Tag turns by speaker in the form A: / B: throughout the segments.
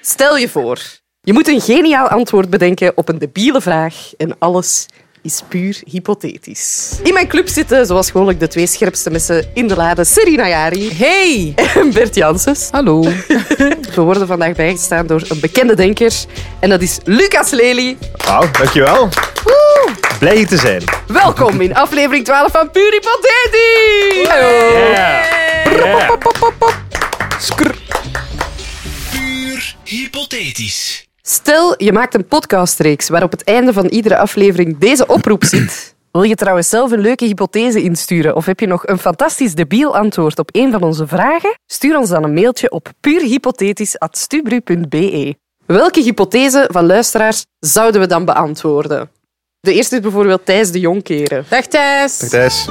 A: Stel je voor, je moet een geniaal antwoord bedenken op een debiele vraag en alles is puur hypothetisch. In mijn club zitten, zoals gewoonlijk, de twee scherpste mensen in de lade, Serena Jari
B: Hey!
A: en Bert Janssens.
B: Hallo.
A: We worden vandaag bijgestaan door een bekende denker en dat is Lucas Lely.
C: Nou, dankjewel. Blij hier te zijn.
A: Welkom in aflevering 12 van Puur Hypothetisch! Hallo.
C: Ja.
D: Puur hypothetisch.
A: Stel, je maakt een podcastreeks waarop het einde van iedere aflevering deze oproep zit. Wil je trouwens zelf een leuke hypothese insturen of heb je nog een fantastisch debiel antwoord op een van onze vragen? Stuur ons dan een mailtje op puurhypothetisch.stubru.be. Welke hypothese van luisteraars zouden we dan beantwoorden? De eerste is bijvoorbeeld Thijs de Jong keren.
B: Dag Thijs.
C: Thijs.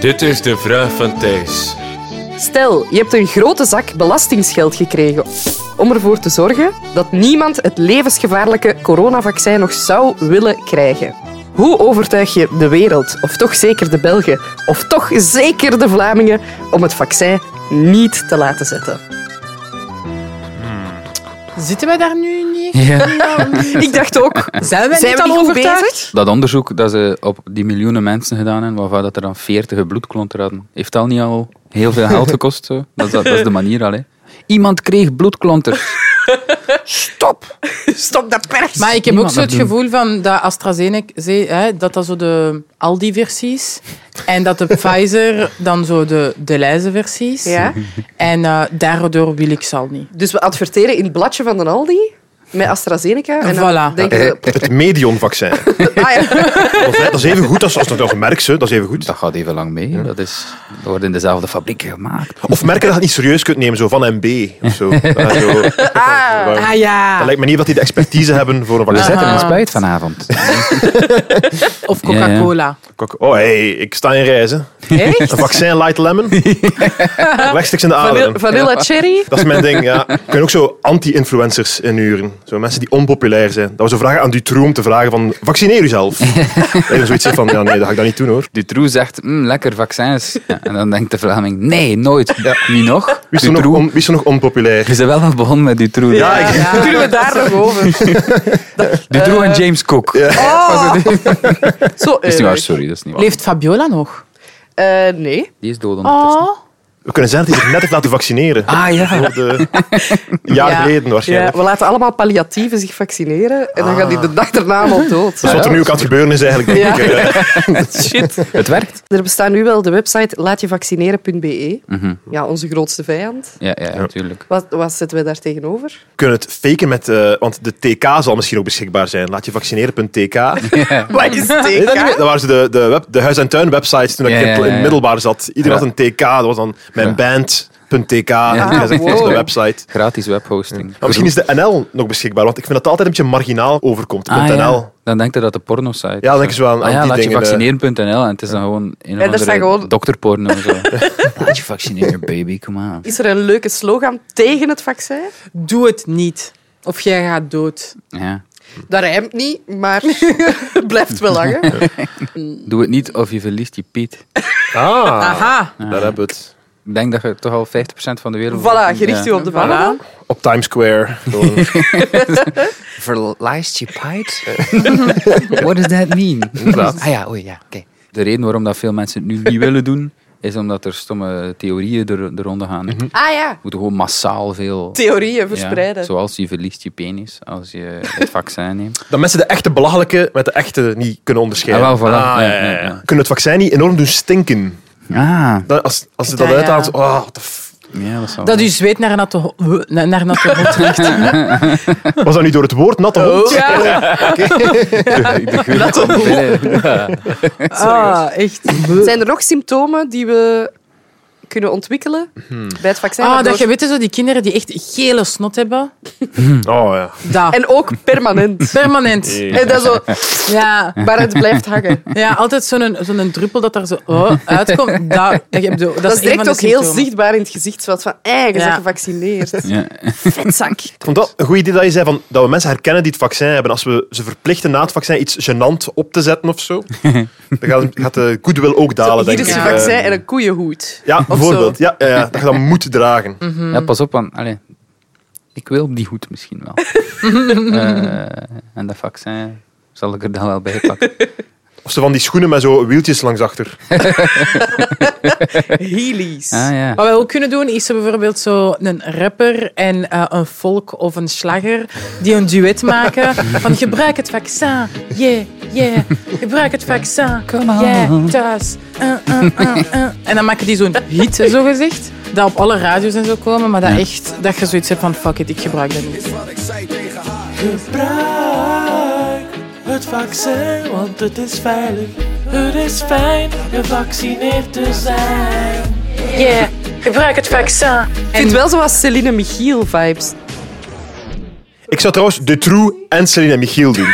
E: Dit is de vraag van Thijs.
A: Stel, je hebt een grote zak belastingsgeld gekregen om ervoor te zorgen dat niemand het levensgevaarlijke coronavaccin nog zou willen krijgen. Hoe overtuig je de wereld, of toch zeker de Belgen, of toch zeker de Vlamingen, om het vaccin niet te laten zetten?
B: Zitten wij daar nu niet?
F: Ja.
A: Ik dacht ook,
B: Zijn wij
A: zijn
B: niet
A: we niet
B: al
A: goed
B: overtuigd?
A: bezig?
F: Dat onderzoek dat ze op die miljoenen mensen gedaan hebben, waarvan dat er dan 40 een bloedklont hadden, heeft al niet al heel veel geld gekost? Zo? Dat, is, dat, dat is de manier al. Hè. Iemand kreeg bloedklonter.
A: Stop! Stop dat pers!
B: Maar ik heb ook
F: Niemand
B: zo het
F: dat doen.
B: gevoel van dat AstraZeneca, ze- hè, dat dat zo de Aldi-versies en dat de Pfizer dan zo de, de Leize-versies.
A: Ja?
B: En eh, daardoor wil ik zal niet.
A: Dus we adverteren in het bladje van de Aldi met AstraZeneca. En dan
B: Voilà.
A: denken we,
C: Het Medion-vaccin.
A: ah ja,
C: Dat is- dat is even goed als, als, als een merk, ze. dat is even goed.
F: Dat gaat even lang mee. Dat, is, dat wordt in dezelfde fabriek gemaakt.
C: Of merken dat je het niet serieus kunt nemen, zo van MB of zo. Ja, zo.
B: Ah
C: Dat
B: ja,
C: lijkt me niet dat die de expertise hebben voor een
F: We
C: vaccin.
F: zetten een spuit vanavond.
B: of
F: Ja, ja.
B: Coca-Cola.
C: Kok- Oh, hey, ik sta in reizen. Een vaccin light lemon. Rechtstreeks in de
A: vanilla,
C: aderen.
A: vanilla cherry.
C: Dat is mijn ding, ja. Kun ook zo anti-influencers inhuren. Zo mensen die onpopulair zijn. Dat we zo vragen aan Dutroux om te vragen van, vaccineer jezelf. dat je zoiets zegt van, ja nee, dat ga ik dat niet doen hoor.
F: Dutroux zegt, "Mm, lekker vaccins. Ja, en dan denkt de Vlaming, nee, nooit. Wie nog?
C: Wie is er nog,
F: Dutroux.
C: on- wie is er nog onpopulair?
F: Je bent wel nog begonnen met Dutroux.
C: Ja, ik-
A: Kunnen we daar nog over?
F: Dutroux
C: Eh,
F: en James Cook.
A: Zo
F: Dat is niet waar,
A: erg.
F: sorry. Dat is niet waar.
B: Leeft Fabiola nog?
A: Eh, nee.
F: Die is dood ondertussen.
B: Oh.
C: We kunnen zeggen dat hij zich net heeft laten vaccineren.
F: Ah ja.
C: Voor de- Een jaar
B: Ja.
C: geleden
A: Ja,
C: waarschijnlijk.
A: we laten allemaal palliatieven zich vaccineren en dan gaat hij de dag daarna al dood.
C: Dus wat er nu ook aan het gebeuren is eigenlijk, denk
A: Ja.
C: ik. eh,
A: Shit.
F: Het werkt.
A: Er bestaat nu wel de website laatjevaccineren.be. Ja, onze grootste vijand.
F: Ja, ja, natuurlijk.
A: Wat, wat zetten we daar tegenover?
C: We kunnen het faken met... eh, want de TK zal misschien ook beschikbaar zijn. Laat je vaccineren.tk.
A: Wat is
C: Weet je dat niet meer?
A: TK?
C: Dat waren ze de, de, web, de huis- en tuinwebsites toen
F: Ja,
C: ik in-
F: ja, ja,
C: in
F: ja.
C: het middelbaar zat. Iedereen
F: Ja.
C: had een TK. Dat was dan mijn band.tk. Dat is
A: wow.
C: de website.
F: Gratis webhosting.
C: Maar misschien is de NL nog beschikbaar, want ik vind dat het altijd een beetje marginaal overkomt.
F: Ah,
C: .nl.
F: ja. Dan denkt hij dat de porno site.
C: Ja, dan denken ze wel aan
F: ah, ja,
C: die
F: laat je
C: dingen, eh.
F: vaccineren.nl en het is dan gewoon een
A: daar
F: of andere
A: staan gewoon-
F: dokterporno. en Zo. laat je vaccineren, baby, come on.
A: Is er een leuke slogan tegen het vaccin?
B: Doe het niet. Of jij gaat dood.
F: Ja.
A: Dat rijmt niet, maar het blijft wel hangen.
F: Doe het niet of je verliest je piet.
C: Ah,
B: Aha.
C: daar hebben we het.
F: Ik denk dat je toch al 50% van de wereld...
A: Voilà, gericht u
F: Ja.
A: op de vallen dan.
C: Op Times Square. Gewoon-
F: Verliest je piet? What does that mean? ah ja, oei, ja, oké. De reden waarom dat veel mensen het nu niet willen doen, is omdat er stomme theorieën er, er ronde gaan.
C: Mhm.
F: We
A: Ah ja,
F: moeten gewoon massaal veel...
A: theorieën
F: Ja,
A: verspreiden.
F: zoals je verliest je penis als je het vaccin neemt.
C: Dat mensen de echte belachelijke met de echte niet kunnen onderscheiden.
F: Ah, wel, voilà.
C: ja, ja, ja.
F: Ja, ja, ja.
C: Kunnen het vaccin niet enorm doen stinken.
F: Ah,
C: Dat, als, als ze dat
B: Ja, ja.
C: uithalen, zo, ah, what the f-
F: ja, dat zou
B: Dat u zweet naar een natte ho- naar naar een natte hond ligt.
C: was dat nu door het woord natte hond?
B: Ah, echt.
A: Zijn er nog symptomen die we kunnen ontwikkelen bij het vaccin?
B: Ah, dat
A: Waardoor-
B: je weet, zo die kinderen die echt gele snot hebben.
C: Oh ja.
B: Dat.
A: En ook permanent.
B: Permanent.
A: En dat zo,
B: Ja.
A: maar het blijft hangen.
B: Ja, altijd zo'n zo'n druppel dat daar zo oh, uitkomt. Dat, ik heb de- dat,
A: Dat
B: is
A: is
B: een
A: direct
B: van de
A: ook heel
B: symptomen.
A: zichtbaar in het gezichtsveld. Van, "Ei, je bent
B: Ja.
A: gevaccineerd.
F: Ja.
A: Vetzak.
C: Ik vond dat een goed idee dat je zei van, dat we mensen herkennen die het vaccin hebben. Als we ze verplichten na het vaccin iets gênant op te zetten of zo, dan gaat, gaat de goodwill ook dalen,
A: Hier
C: denk
A: is
C: ik.
A: je
B: Ja.
A: vaccin
C: Eh,
A: en een koeienhoed.
C: ja,
A: zo.
F: Mm.
C: bijvoorbeeld. Ja, ja, ja, dat je dat moet dragen.
F: Ja, pas op, want allee, Ik wil op die hoed misschien wel. Eh, en dat vaccin zal ik er dan wel bij pakken.
C: Of ze van die schoenen met zo wieltjes langs achter.
A: Heelys.
F: Ah, ja.
B: Wat we ook kunnen doen, is er bijvoorbeeld zo een rapper en eh, een volk of een slager die een duet maken van gebruik het vaccin, yeah, yeah, gebruik het vaccin, yeah, thuis. Eh, eh, eh, eh. En dan maken die zo'n hit, zo gezegd, dat op alle radio's en zo komen, maar dat echt, dat je zoiets hebt van fuck it, ik gebruik dat niet.
G: Gebruik het vaccin, want het is veilig. Het is fijn gevaccineerd te zijn.
B: Yeah, gebruik het vaccin.
A: Ik vind het wel zoals Celine Michiel-vibes.
C: Ik zou trouwens De True en Celine en Michiel doen.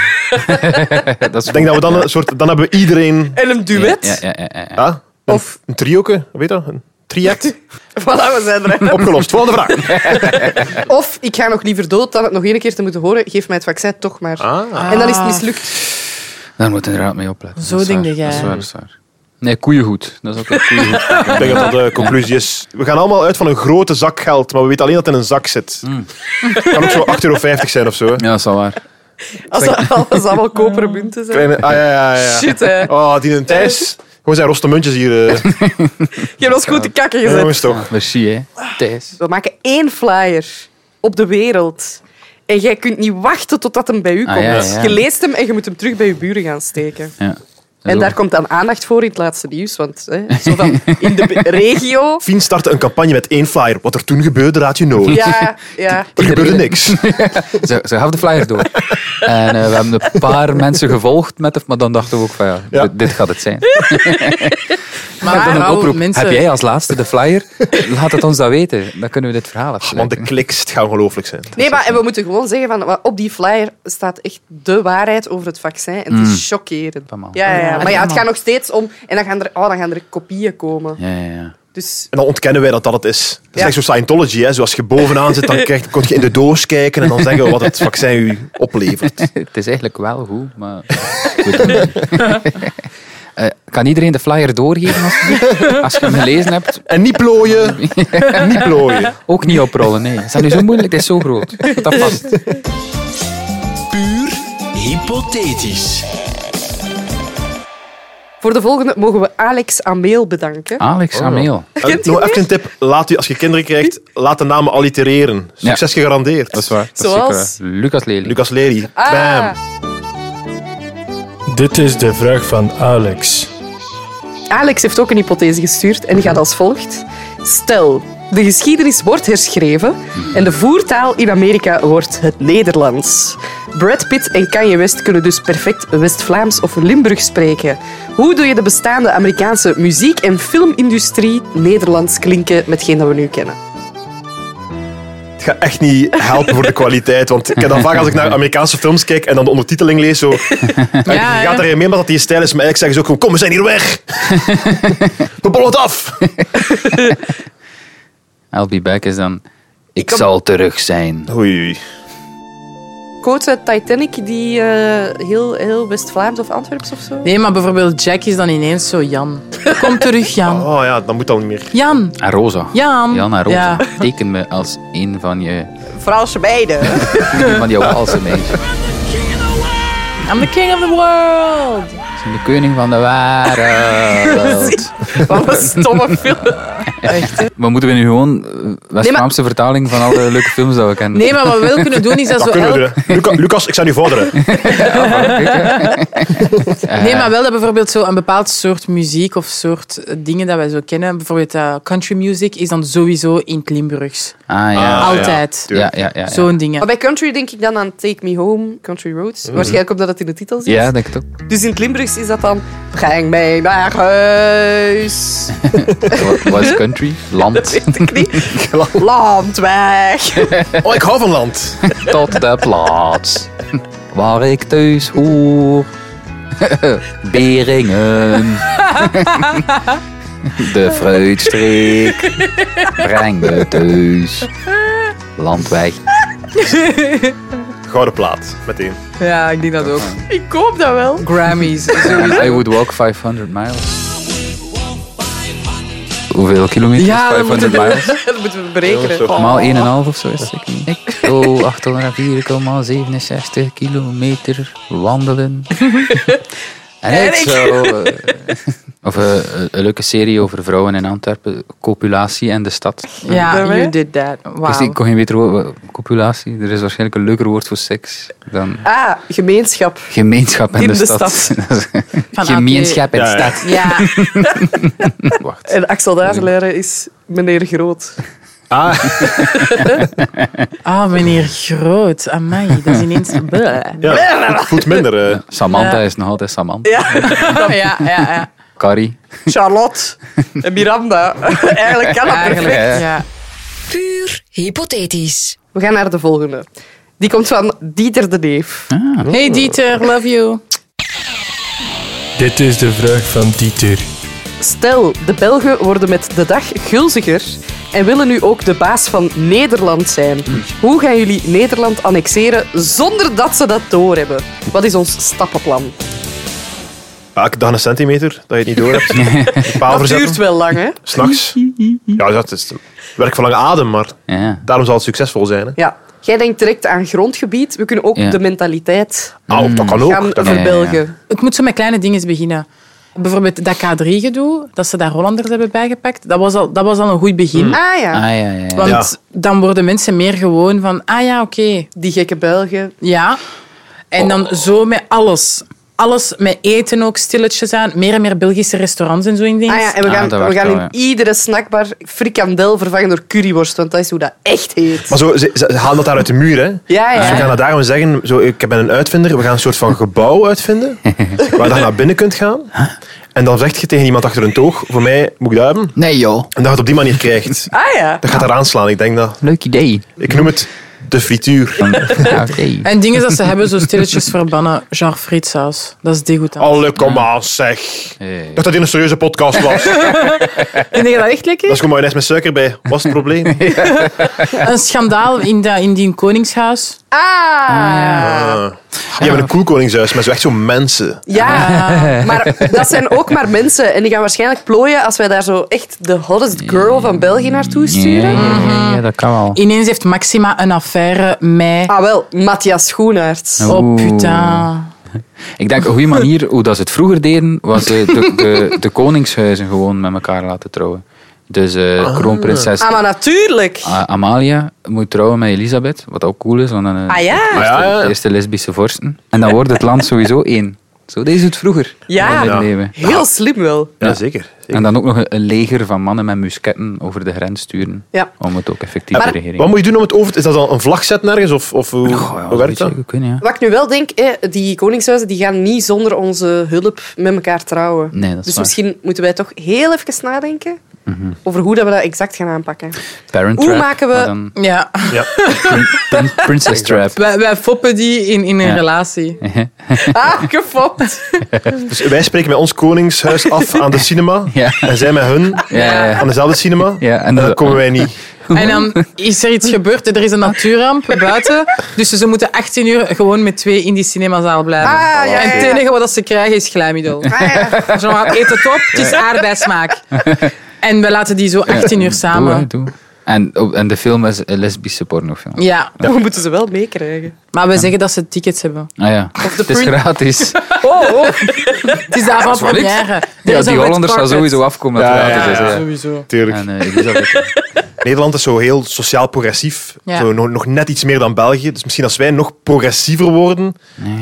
F: Dat is
C: Ik denk dat we dan een soort... Dan hebben we iedereen... Ah?
A: En een duet.
F: Ja, ja, ja, ja, ja.
C: Ja, een, of... Een trioke, weet je dat? Een triet.
A: Voilà, we zijn er.
C: Opgelost. Volgende vraag.
A: Of ik ga nog liever dood dan het nog één keer te moeten horen. Geef mij het vaccin toch maar.
C: Ah.
A: En dan is het mislukt.
F: Daar moet je inderdaad mee opletten.
B: Zo
F: Dat is
B: denk
F: waar,
B: jij.
F: Dat is waar, dat is waar. Nee, koeiengoed. Dat is ook een koeiengoed.
C: Ik denk dat dat de conclusie is. We gaan allemaal uit van een grote zak geld, maar we weten alleen dat het in een zak zit.
A: Hmm.
C: kan ook zo 8,50 euro zijn of zo. hè.
F: Ja, dat is wel waar.
A: Als dat als dat wel koperen munten zijn.
C: Kleine, ah, ja, ja, ja.
A: Shit, hè.
C: Oh, die en Thijs. Gewoon zijn roste muntjes hier. eh.
A: Je hebt ons goed te kakken
C: Ja,
A: gezet.
C: jongens, toch.
F: Ah, Merci, hè. Thijs.
A: We maken één flyer op de wereld. En jij kunt niet wachten totdat hem bij u
F: Ah,
A: komt.
F: ja, ja.
A: Je leest hem en je moet hem terug bij je buren gaan steken.
F: Ja. Dat is
A: En daar
F: ook-
A: komt dan aandacht voor in het laatste nieuws. Want hè, zo van in de be- regio...
C: Fien startte een campagne met één flyer. Wat er toen gebeurde, raad je nooit.
A: Ja, ja.
C: Er gebeurde niks.
F: Ze, ze gaf de flyer door. En eh, we hebben een paar mensen gevolgd met het, maar dan dachten we ook van ja,
C: Ja.
F: Dit, dit gaat het zijn.
B: Maar
F: Dan een
B: hou,
F: oproep.
B: mensen,
F: Heb jij als laatste de flyer? Laat het ons dat weten. Dan kunnen we dit verhaal
C: Want de
F: afsluiten.
C: kliks, het gaat ongelooflijk zijn.
A: Nee, maar en we moeten gewoon zeggen, van, op die flyer staat echt de waarheid over het vaccin. En het is chockerend.
F: Pas maar.
A: Ja, ja, ja. maar ja, het
B: Allemaal.
A: gaat nog steeds om... En dan gaan er, oh, dan gaan er kopieën komen.
F: Ja, ja, ja.
A: Dus
C: En dan ontkennen wij dat dat het is. Dat is
A: Ja.
C: echt zo Scientology. Hè. Zoals je bovenaan zit, dan krijg, kon je in de doos kijken en dan zeggen we wat het vaccin u oplevert.
F: Het is eigenlijk wel goed, maar... ik weet het niet. Eh, kan iedereen de flyer doorgeven alsjeblieft? als je hem gelezen hebt?
C: En niet plooien. En niet plooien.
F: Ook niet oprollen, nee. Is dat nu zo moeilijk? Het is zo groot. Dat past.
D: Puur hypothetisch.
A: voor de volgende mogen we Alex Ameel bedanken.
F: Alex Ameel.
C: En nog even een tip. Laat u, als je kinderen krijgt, laat de namen allitereren. Succes gegarandeerd.
F: Dat is waar. Dat is
A: Zoals?
F: zeker waar. Lucas Lely.
C: Lucas Lely.
A: Ah.
C: Bam.
G: Dit is de vraag van Alex.
A: Alex heeft ook een hypothese gestuurd en die gaat als volgt. Stel, de geschiedenis wordt herschreven en de voertaal in Amerika wordt het Nederlands. Brad Pitt en Kanye West kunnen dus perfect West-Vlaams of Limburg spreken. Hoe doe je de bestaande Amerikaanse muziek- en filmindustrie Nederlands klinken met geen dat we nu kennen?
C: Het gaat echt niet helpen voor de kwaliteit. Want ik heb dan vaak als ik naar Amerikaanse films kijk en dan de ondertiteling lees, zo,
B: ja,
C: je
B: hè.
C: gaat erin mee maar dat die stijl is. Maar eigenlijk zeggen ze ook gewoon, kom, we zijn hier weg. We bollen het af.
F: I'll be back is dan... Ik zal terug zijn.
C: Oei, oei.
A: Quote uit Titanic, die eh, heel, heel West-Vlaams of Antwerps of zo?
B: Nee, maar bijvoorbeeld Jack is dan ineens zo Jan. Kom terug, Jan.
C: Oh ja, dat moet dan niet meer.
B: Jan,
F: En Rosa.
B: Jan.
F: Jan en Rosa.
B: Ja.
F: Teken me als een van je...
A: Franse beiden.
F: van die walse meisjes.
B: I'm the king of the world.
F: Ik ben De koning van de wereld.
A: Wat een stomme film.
F: Maar moeten we nu gewoon eh, West-Vlaamse vertaling van alle leuke films dat we kennen?
B: Nee, maar wat we wel kunnen doen is dat,
C: Dat
B: zo
C: kunnen we
B: elk-
C: doen. hè. Luca- Lucas, ik sta nu vorderen.
B: Nee, maar wel dat bijvoorbeeld zo een bepaald soort muziek of soort eh, dingen dat wij zo kennen. Bijvoorbeeld eh, country music is dan sowieso in het Limburgs.
F: Ah ja.
C: Ah,
B: Altijd.
C: ja.
F: ja, ja, ja, ja.
B: Zo'n dingen.
A: Maar bij country denk ik dan aan Take Me Home, Country Roads. Waarschijnlijk omdat het in de titel zit.
F: Ja, denk ik ook.
A: Dus in het Limburgs is dat dan... Breng mij naar huis.
F: Wat- Wat is country? Land.
A: Weet ik niet. Land weg.
C: Oh, ik hou van land.
F: Tot de plaats waar ik thuis hoor. Beringen. De fruitstreek. Breng me thuis. Landweg.
C: Gouden plaat, meteen.
B: Ja, ik denk dat ook.
A: Ik koop dat wel.
B: Grammys.
F: I would walk 500 miles. Hoeveel kilometer?
B: Ja, dat
F: 500 miles.
A: Dat moeten we berekenen.
F: Maal 1,5 of zo is het zeker niet. Oh. Ik Zo, 804,67 kilometer wandelen. en ik zo... eh, Of eh, een leuke serie over vrouwen in Antwerpen. Copulatie en de stad.
B: Ja,
H: Daarmee?
B: you did that.
F: Dus ik
B: Wow.
F: kon geen beter woord... wa- Copulatie. Er is waarschijnlijk een leuker woord voor seks dan
A: Ah, gemeenschap.
F: gemeenschap en
A: In
F: de,
A: de
F: stad.
B: Van
F: E. gemeenschap en
C: Ja, ja.
F: stad.
B: Ja,
F: Wacht.
A: En Axel Dazeleren is meneer Groot.
B: ah, meneer Groot. Amai, dat is ineens... Bleh.
C: Ja, het voelt minder. eh.
F: Samantha is nog altijd Samantha.
B: ja, ja, ja.
F: Carrie.
A: Charlotte en Miranda. Eigenlijk kan dat
B: Eigenlijk,
A: perfect.
F: Ja.
B: ja.
H: Puur hypothetisch.
A: We gaan naar de volgende. Die komt van Dieter de Neef.
B: Hey Dieter, love you.
G: Dit is de vraag van Dieter.
A: Stel, de Belgen worden met de dag gulziger en willen nu ook de baas van Nederland zijn. Hoe gaan jullie Nederland annexeren zonder dat ze dat doorhebben? Wat is ons stappenplan?
C: Ja, ik dacht een centimeter, dat je het niet door hebt. Een paal
A: Dat duurt
C: verzetten,
A: wel lang, hè?
C: s'nachts. Ja, dat is werk van lange adem, maar
F: Ja.
C: daarom zal het succesvol zijn. Hè.
A: Ja. Jij denkt direct aan grondgebied. We kunnen ook
F: Ja.
A: de mentaliteit
C: Ah, dat kan
A: gaan
C: ook. Dat kan-
A: verbelgen.
B: Ik moet zo met kleine dingen beginnen. Bijvoorbeeld dat K3-gedoe, dat ze daar Hollanders hebben bijgepakt, dat was al, dat was al een goed
C: Hm.
B: begin.
A: Ah ja,
F: Ah, ja, ja, ja.
B: Want
C: Ja.
B: dan worden mensen meer gewoon van, ah ja, oké,
A: die gekke Belgen.
B: ja. En
F: Oh.
B: dan zo met alles. Alles met eten ook, stilletjes aan. Meer en meer Belgische restaurants en zo in dienst.
A: Ah ja, en we
F: Ah,
A: gaan,
F: dat
A: we
F: werkt
A: gaan in
F: wel, ja.
A: iedere snackbar frikandel vervangen door curryworst, want dat is hoe dat echt heet.
C: Maar zo, ze, ze halen dat daar uit de muur, hè?
A: Ja, ja.
C: Dus
F: Ah,
C: we gaan dat daarom zeggen, zo, ik ben een uitvinder, we gaan een soort van gebouw uitvinden, waar je dan naar binnen kunt gaan. En dan zeg je tegen iemand achter een toog, voor mij moet ik dat hebben.
F: Nee joh.
C: En dat je het op die manier krijgt.
A: Ah ja.
C: Dat gaat daar aanslaan, ik denk dat.
F: Leuk idee.
C: Ik noem het de frituur.
F: Ja, Oké.
B: En dingen dat ze hebben, zo stilletjes verbannen, genre frietsaus. Dat is degoutant.
C: Alle komma, zeg. Ik
F: Hey.
C: dacht dat dit een serieuze podcast was. Dat
B: Vind je dat echt lekker?
C: is gewoon mayonaise met suiker bij. Was het probleem?
B: Een schandaal in, dat in die koningshuis.
C: Ah. Die hebben een cool koningshuis, maar zo echt zo mensen.
A: Ja, maar dat zijn ook maar mensen. En die gaan waarschijnlijk plooien als wij daar zo echt de hottest girl van België naartoe
F: Ja, ja,
A: sturen.
F: ja, ja, dat kan wel.
B: Ineens heeft Maxima een affaire met...
A: Ah wel, Matthias Schoenaerts.
B: Oh,
F: Oeh.
B: putain.
F: Ik denk, een goede manier hoe dat ze het vroeger deden, was eh, de, de, de koningshuizen gewoon met elkaar laten trouwen. Dus eh, kroonprinses
A: Ah, maar natuurlijk.
F: eh, Amalia moet trouwen met Elisabeth, wat ook cool is, want dan eh,
A: Ah ja.
C: Ah,
F: de
C: ja, ja.
F: eerste lesbische vorsten. En dan wordt het land sowieso één. Zo deed ze het vroeger.
A: Ja.
F: in het
C: Ja.
F: leven.
A: Heel slim wel.
C: Ja, zeker.
F: En dan ook nog een, een leger van mannen met musketten over de grens sturen.
A: Ja.
F: Om het ook effectief te regeren.
C: Wat moet je doen om het over te... Is dat dan een vlag zetten ergens? Of, of hoe,
F: Oh ja,
C: hoe werkt dat?
F: zou kunnen, ja.
A: Wat ik nu wel denk, hè, die koningshuizen die gaan niet zonder onze hulp met elkaar trouwen.
F: Nee, dat is
A: dus
F: waar. Mhm.
A: misschien moeten wij toch heel even nadenken over hoe dat we dat exact gaan aanpakken.
F: Parent
A: Hoe
F: trap,
A: maken we-
F: maar dan
B: Ja,
C: Ja.
F: prin- prin- princess trap.
B: wij, wij foppen die in, in een
F: Ja.
B: relatie.
A: Ah, gefopt.
C: Dus wij spreken met ons koningshuis af aan de cinema.
F: Ja.
C: En zij met hun
F: Ja, ja.
C: aan dezelfde cinema.
F: Ja,
C: en dan komen wij niet.
B: En dan is er iets gebeurd, er is een natuurramp buiten. Dus ze moeten 18 uur gewoon met twee in die cinemazaal blijven.
A: Ah, ja, ja,
B: En het
A: ja.
B: enige wat ze krijgen is glijmiddel.
A: Ah, ja.
B: Zo van, eet het op, het is aardbeismaak. En we laten die zo 18 uur samen.
F: Doe, hè, doe. En, oh, en de film is een lesbische pornofilm.
B: Ja,
A: We moeten ze wel meekrijgen.
B: maar we zeggen dat ze tickets hebben.
F: Ah ja, het is
A: print-
F: gratis.
B: Oh, oh. Het is daarvan
F: waar, niks.
B: première.
F: Ja, die Hollanders gaan
B: gaan
F: sowieso afkomen dat het
C: Ja, ja,
F: gratis
C: ja,
F: is. ja.
B: Sowieso.
C: Tuurlijk.
F: En eh, Elisabeth.
C: Nederland is zo heel sociaal progressief.
B: Ja.
C: Zo nog, nog net iets meer dan België. Dus misschien als wij nog progressiever worden,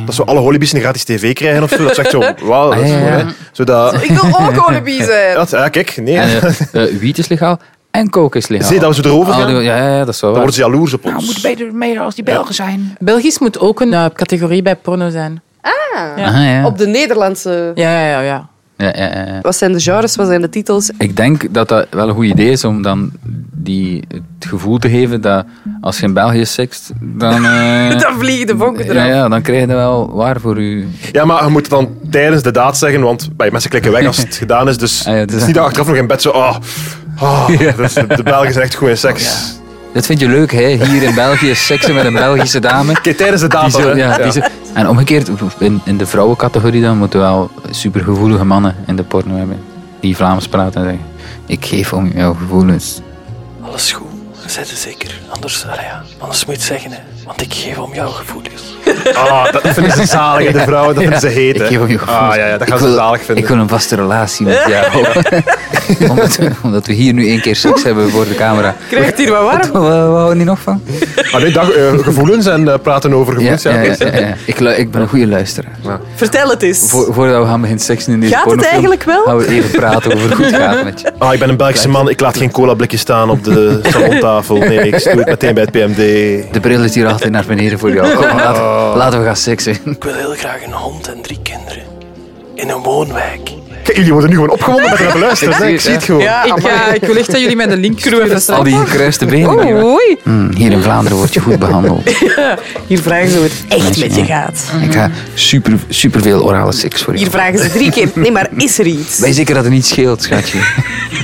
C: dat we alle hollybies een gratis tv krijgen of zo. Dat is echt zo, wauw. dat is
F: Ah, ja,
C: mooi,
F: ja.
C: hè. Zodat,
A: Ik wil ook Olympisch zijn.
C: dat, ja, kijk, nee.
F: En eh, eh, wiet is legaal en koken is legaal.
C: Zie je dat we zo erover
F: Ah,
C: gaan?
F: die- ja, ja, ja, dat is wel
C: Dan
F: waar.
C: worden ze jaloers op
F: Nou,
A: Nou,
C: ons.
B: Belgisch moet ook een eh, categorie bij porno zijn.
F: Ah, ja.
A: Op de Nederlandse...
B: Ja, ja, ja. ja.
F: Ja, ja, ja, ja.
A: Wat zijn de genres, wat zijn de titels?
F: Ik denk dat dat wel een goed idee is om dan die, het gevoel te geven dat als je in België sekst, dan... eh,
A: Dan vliegen de vonken
F: ja,
A: eraf.
F: ja, dan krijg je dat wel waar voor je...
C: Ja, maar je moet het dan tijdens de daad zeggen, want bij mensen klikken weg als het gedaan is. Dus
F: Ah, ja,
C: het
F: dus-
C: is niet dat achteraf nog in bed zo... Oh, oh, dat is- de Belgen zijn echt goed in seks.
F: Dat vind je leuk, hè? Hier in België seksen met een Belgische dame.
C: Kijk, tijdens de daad
F: Die
C: al,
F: zo-
C: hè.
F: ja, die
C: Ja.
F: zo- En omgekeerd, in, in de vrouwencategorie dan moeten wel supergevoelige mannen in de porno hebben. Die Vlaams praten en zeggen, ik geef om jouw gevoelens.
D: Alles goed.
G: Zij ze zeker. Anders, allee, ja, anders moet je het zeggen, hè. want ik geef om jouw gevoelens.
C: Ah, dat vinden ze zalig, de vrouwen. Dat vinden ze heet.
F: Ik
C: hè.
F: geef hem je gevoel.
C: Ah, ja, ja, dat
F: Ik
C: gaan ze
F: wil-
C: zalig vinden.
F: Ik wil een vaste relatie met jou. omdat, we, omdat we hier nu één keer seks hebben voor de camera.
A: Krijgt hier wat warm?
F: Wat houden we niet nog van?
C: Maar nee, dag, eh, gevoelens en eh, praten over
F: Ja,
C: gevoelens. Ja,
F: ja, ja, ja, ja. Ik, lu- ik ben een goede luisteraar.
A: Vertel het eens.
F: Voor, voordat we gaan beginnen seksen in deze
A: Gaat het
F: pornofilm,
A: eigenlijk wel?
F: gaan we even praten over hoe het gaat met je.
C: Ah, ik ben een Belgische man, ik laat geen cola-blikjes staan op de salontafel. Nee, ik doe het meteen bij het PMD.
F: De bril is hier altijd naar beneden voor jou. Kom, laten, laten we gaan seksen.
G: Ik wil heel graag een hond en drie kinderen. In een woonwijk.
C: Kijk, jullie worden nu gewoon opgewonden met het luisteren.
F: Ik
C: Ik,
F: zie
C: ik
F: het,
C: zie
F: ja.
C: het gewoon.
B: Ja, ik, eh, ik wil echt dat jullie mij de link sturen.
F: Al die gekruiste benen.
A: Oei,
F: jongen.
A: oei.
F: Hm, hier in Vlaanderen word je goed behandeld.
A: Hier vragen ze hoe het echt met je gaat.
F: Ik ga super, super veel orale seks voor
A: Hier
F: je.
A: vragen ze drie keer. Nee, maar is er iets?
F: Ben je zeker dat het niet scheelt, schatje?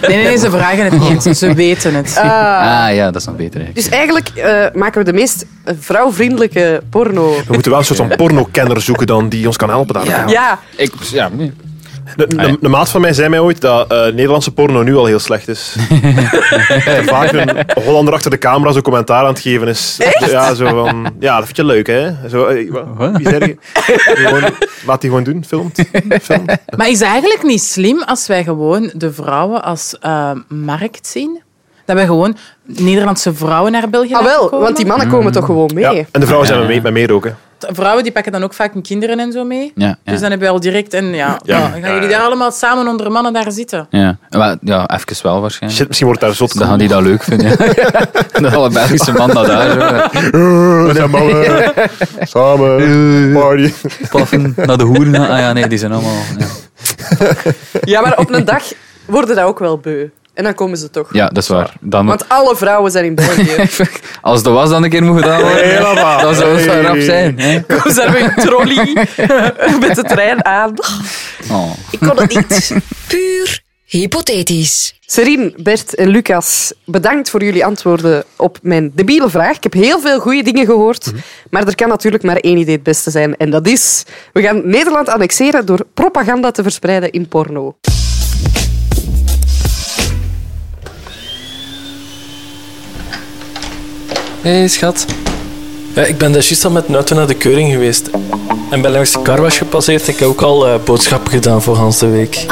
B: Nee, nee, nee, ze vragen het niet. Ze weten het.
F: Ah ja, dat is nog beter. hè.
A: Dus eigenlijk eh, maken we de meest vrouwvriendelijke porno.
C: We moeten wel een soort van pornokenner zoeken dan, die ons kan helpen daar.
F: Ja.
A: Ja,
F: Ik, ja, nee.
C: De, de- de maat van mij zei mij ooit dat eh, Nederlandse porno nu al heel slecht is. En vaak een Hollander achter de camera zo commentaar aan het geven is. Ja, zo van, ja, dat vind je leuk, hè? Zo, eh, wa- wie zei die? Gewoon, laat die gewoon doen, filmt. filmt.
B: Maar is het eigenlijk niet slim als wij gewoon de vrouwen als eh, markt zien? Dat wij gewoon Nederlandse vrouwen naar België
A: ah, wel,
B: laten komen?
A: want die mannen
F: Mm.
A: komen toch gewoon
C: Ja.
A: mee.
C: En de vrouwen zijn met mee, met meer ook, hè?
B: Vrouwen die pakken dan ook vaak hun kinderen en zo mee.
F: Ja, ja.
B: Dus dan hebben we al direct... En ja,
C: Ja.
B: nou, dan gaan jullie daar allemaal samen onder mannen daar zitten.
F: Ja, maar, ja even wel waarschijnlijk.
C: Shit, misschien wordt daar zot.
F: Dan gaan die dat leuk vinden. Ja. dat alle Belgische man dat daar zo.
C: We zijn mannen. Samen. Party.
F: Paffen naar de hoeren. Ah ja, nee, die zijn allemaal... Ja,
A: Ja, maar op een dag worden dat ook wel beu. En dan komen ze toch.
F: ja dat is waar. Dan,
A: Want alle vrouwen zijn in België.
F: als de was dan een keer moet gedaan worden,
C: Helemaal.
F: dan zou het wel
C: Hey.
F: rap zijn. Hè?
A: Komen ze daar met een trolley met de trein aan.
F: Oh.
A: Ik kon het niet.
H: Puur hypothetisch.
A: Serien, Bert en Lucas, bedankt voor jullie antwoorden op mijn debiele vraag. Ik heb heel veel goede dingen gehoord, maar er kan natuurlijk maar één idee het beste zijn. En dat is, we gaan Nederland annexeren door propaganda te verspreiden in porno.
G: Hé, hey, schat. Ja, ik ben dus juist al met een auto naar de keuring geweest. En ben langs de carwash gepasseerd. Ik heb ook al eh, boodschappen gedaan voor Hans de week.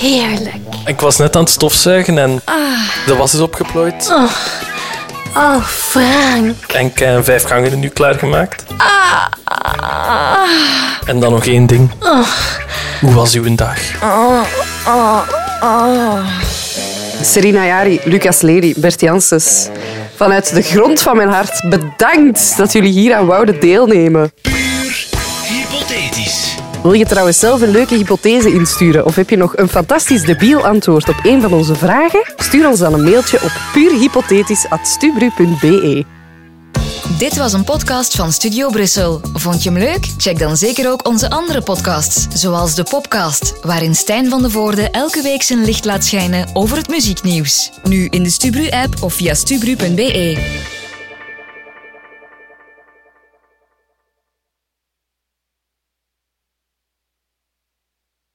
I: Heerlijk.
G: Ik was net aan het stofzuigen en de was is opgeplooid.
I: Oh, Frank. Ah.
G: En ik heb vijf gangen nu klaargemaakt. En dan nog één ding. Hoe was uw dag?
A: Serena Jari, Lucas Lely, Bert Janssens. Vanuit de grond van mijn hart, bedankt dat jullie hier aan wouden deelnemen.
D: Puur hypothetisch.
A: Wil je trouwens zelf een leuke hypothese insturen of heb je nog een fantastisch debiel antwoord op een van onze vragen? Stuur ons dan een mailtje op puurhypothetisch.stubru.be.
H: Dit was een podcast van Studio Brussel. Vond je hem leuk? Check dan zeker ook onze andere podcasts, zoals de Popcast, waarin Stijn van de Voorde elke week zijn licht laat schijnen over het muzieknieuws. Nu in de Stubru-app of via stubru.be.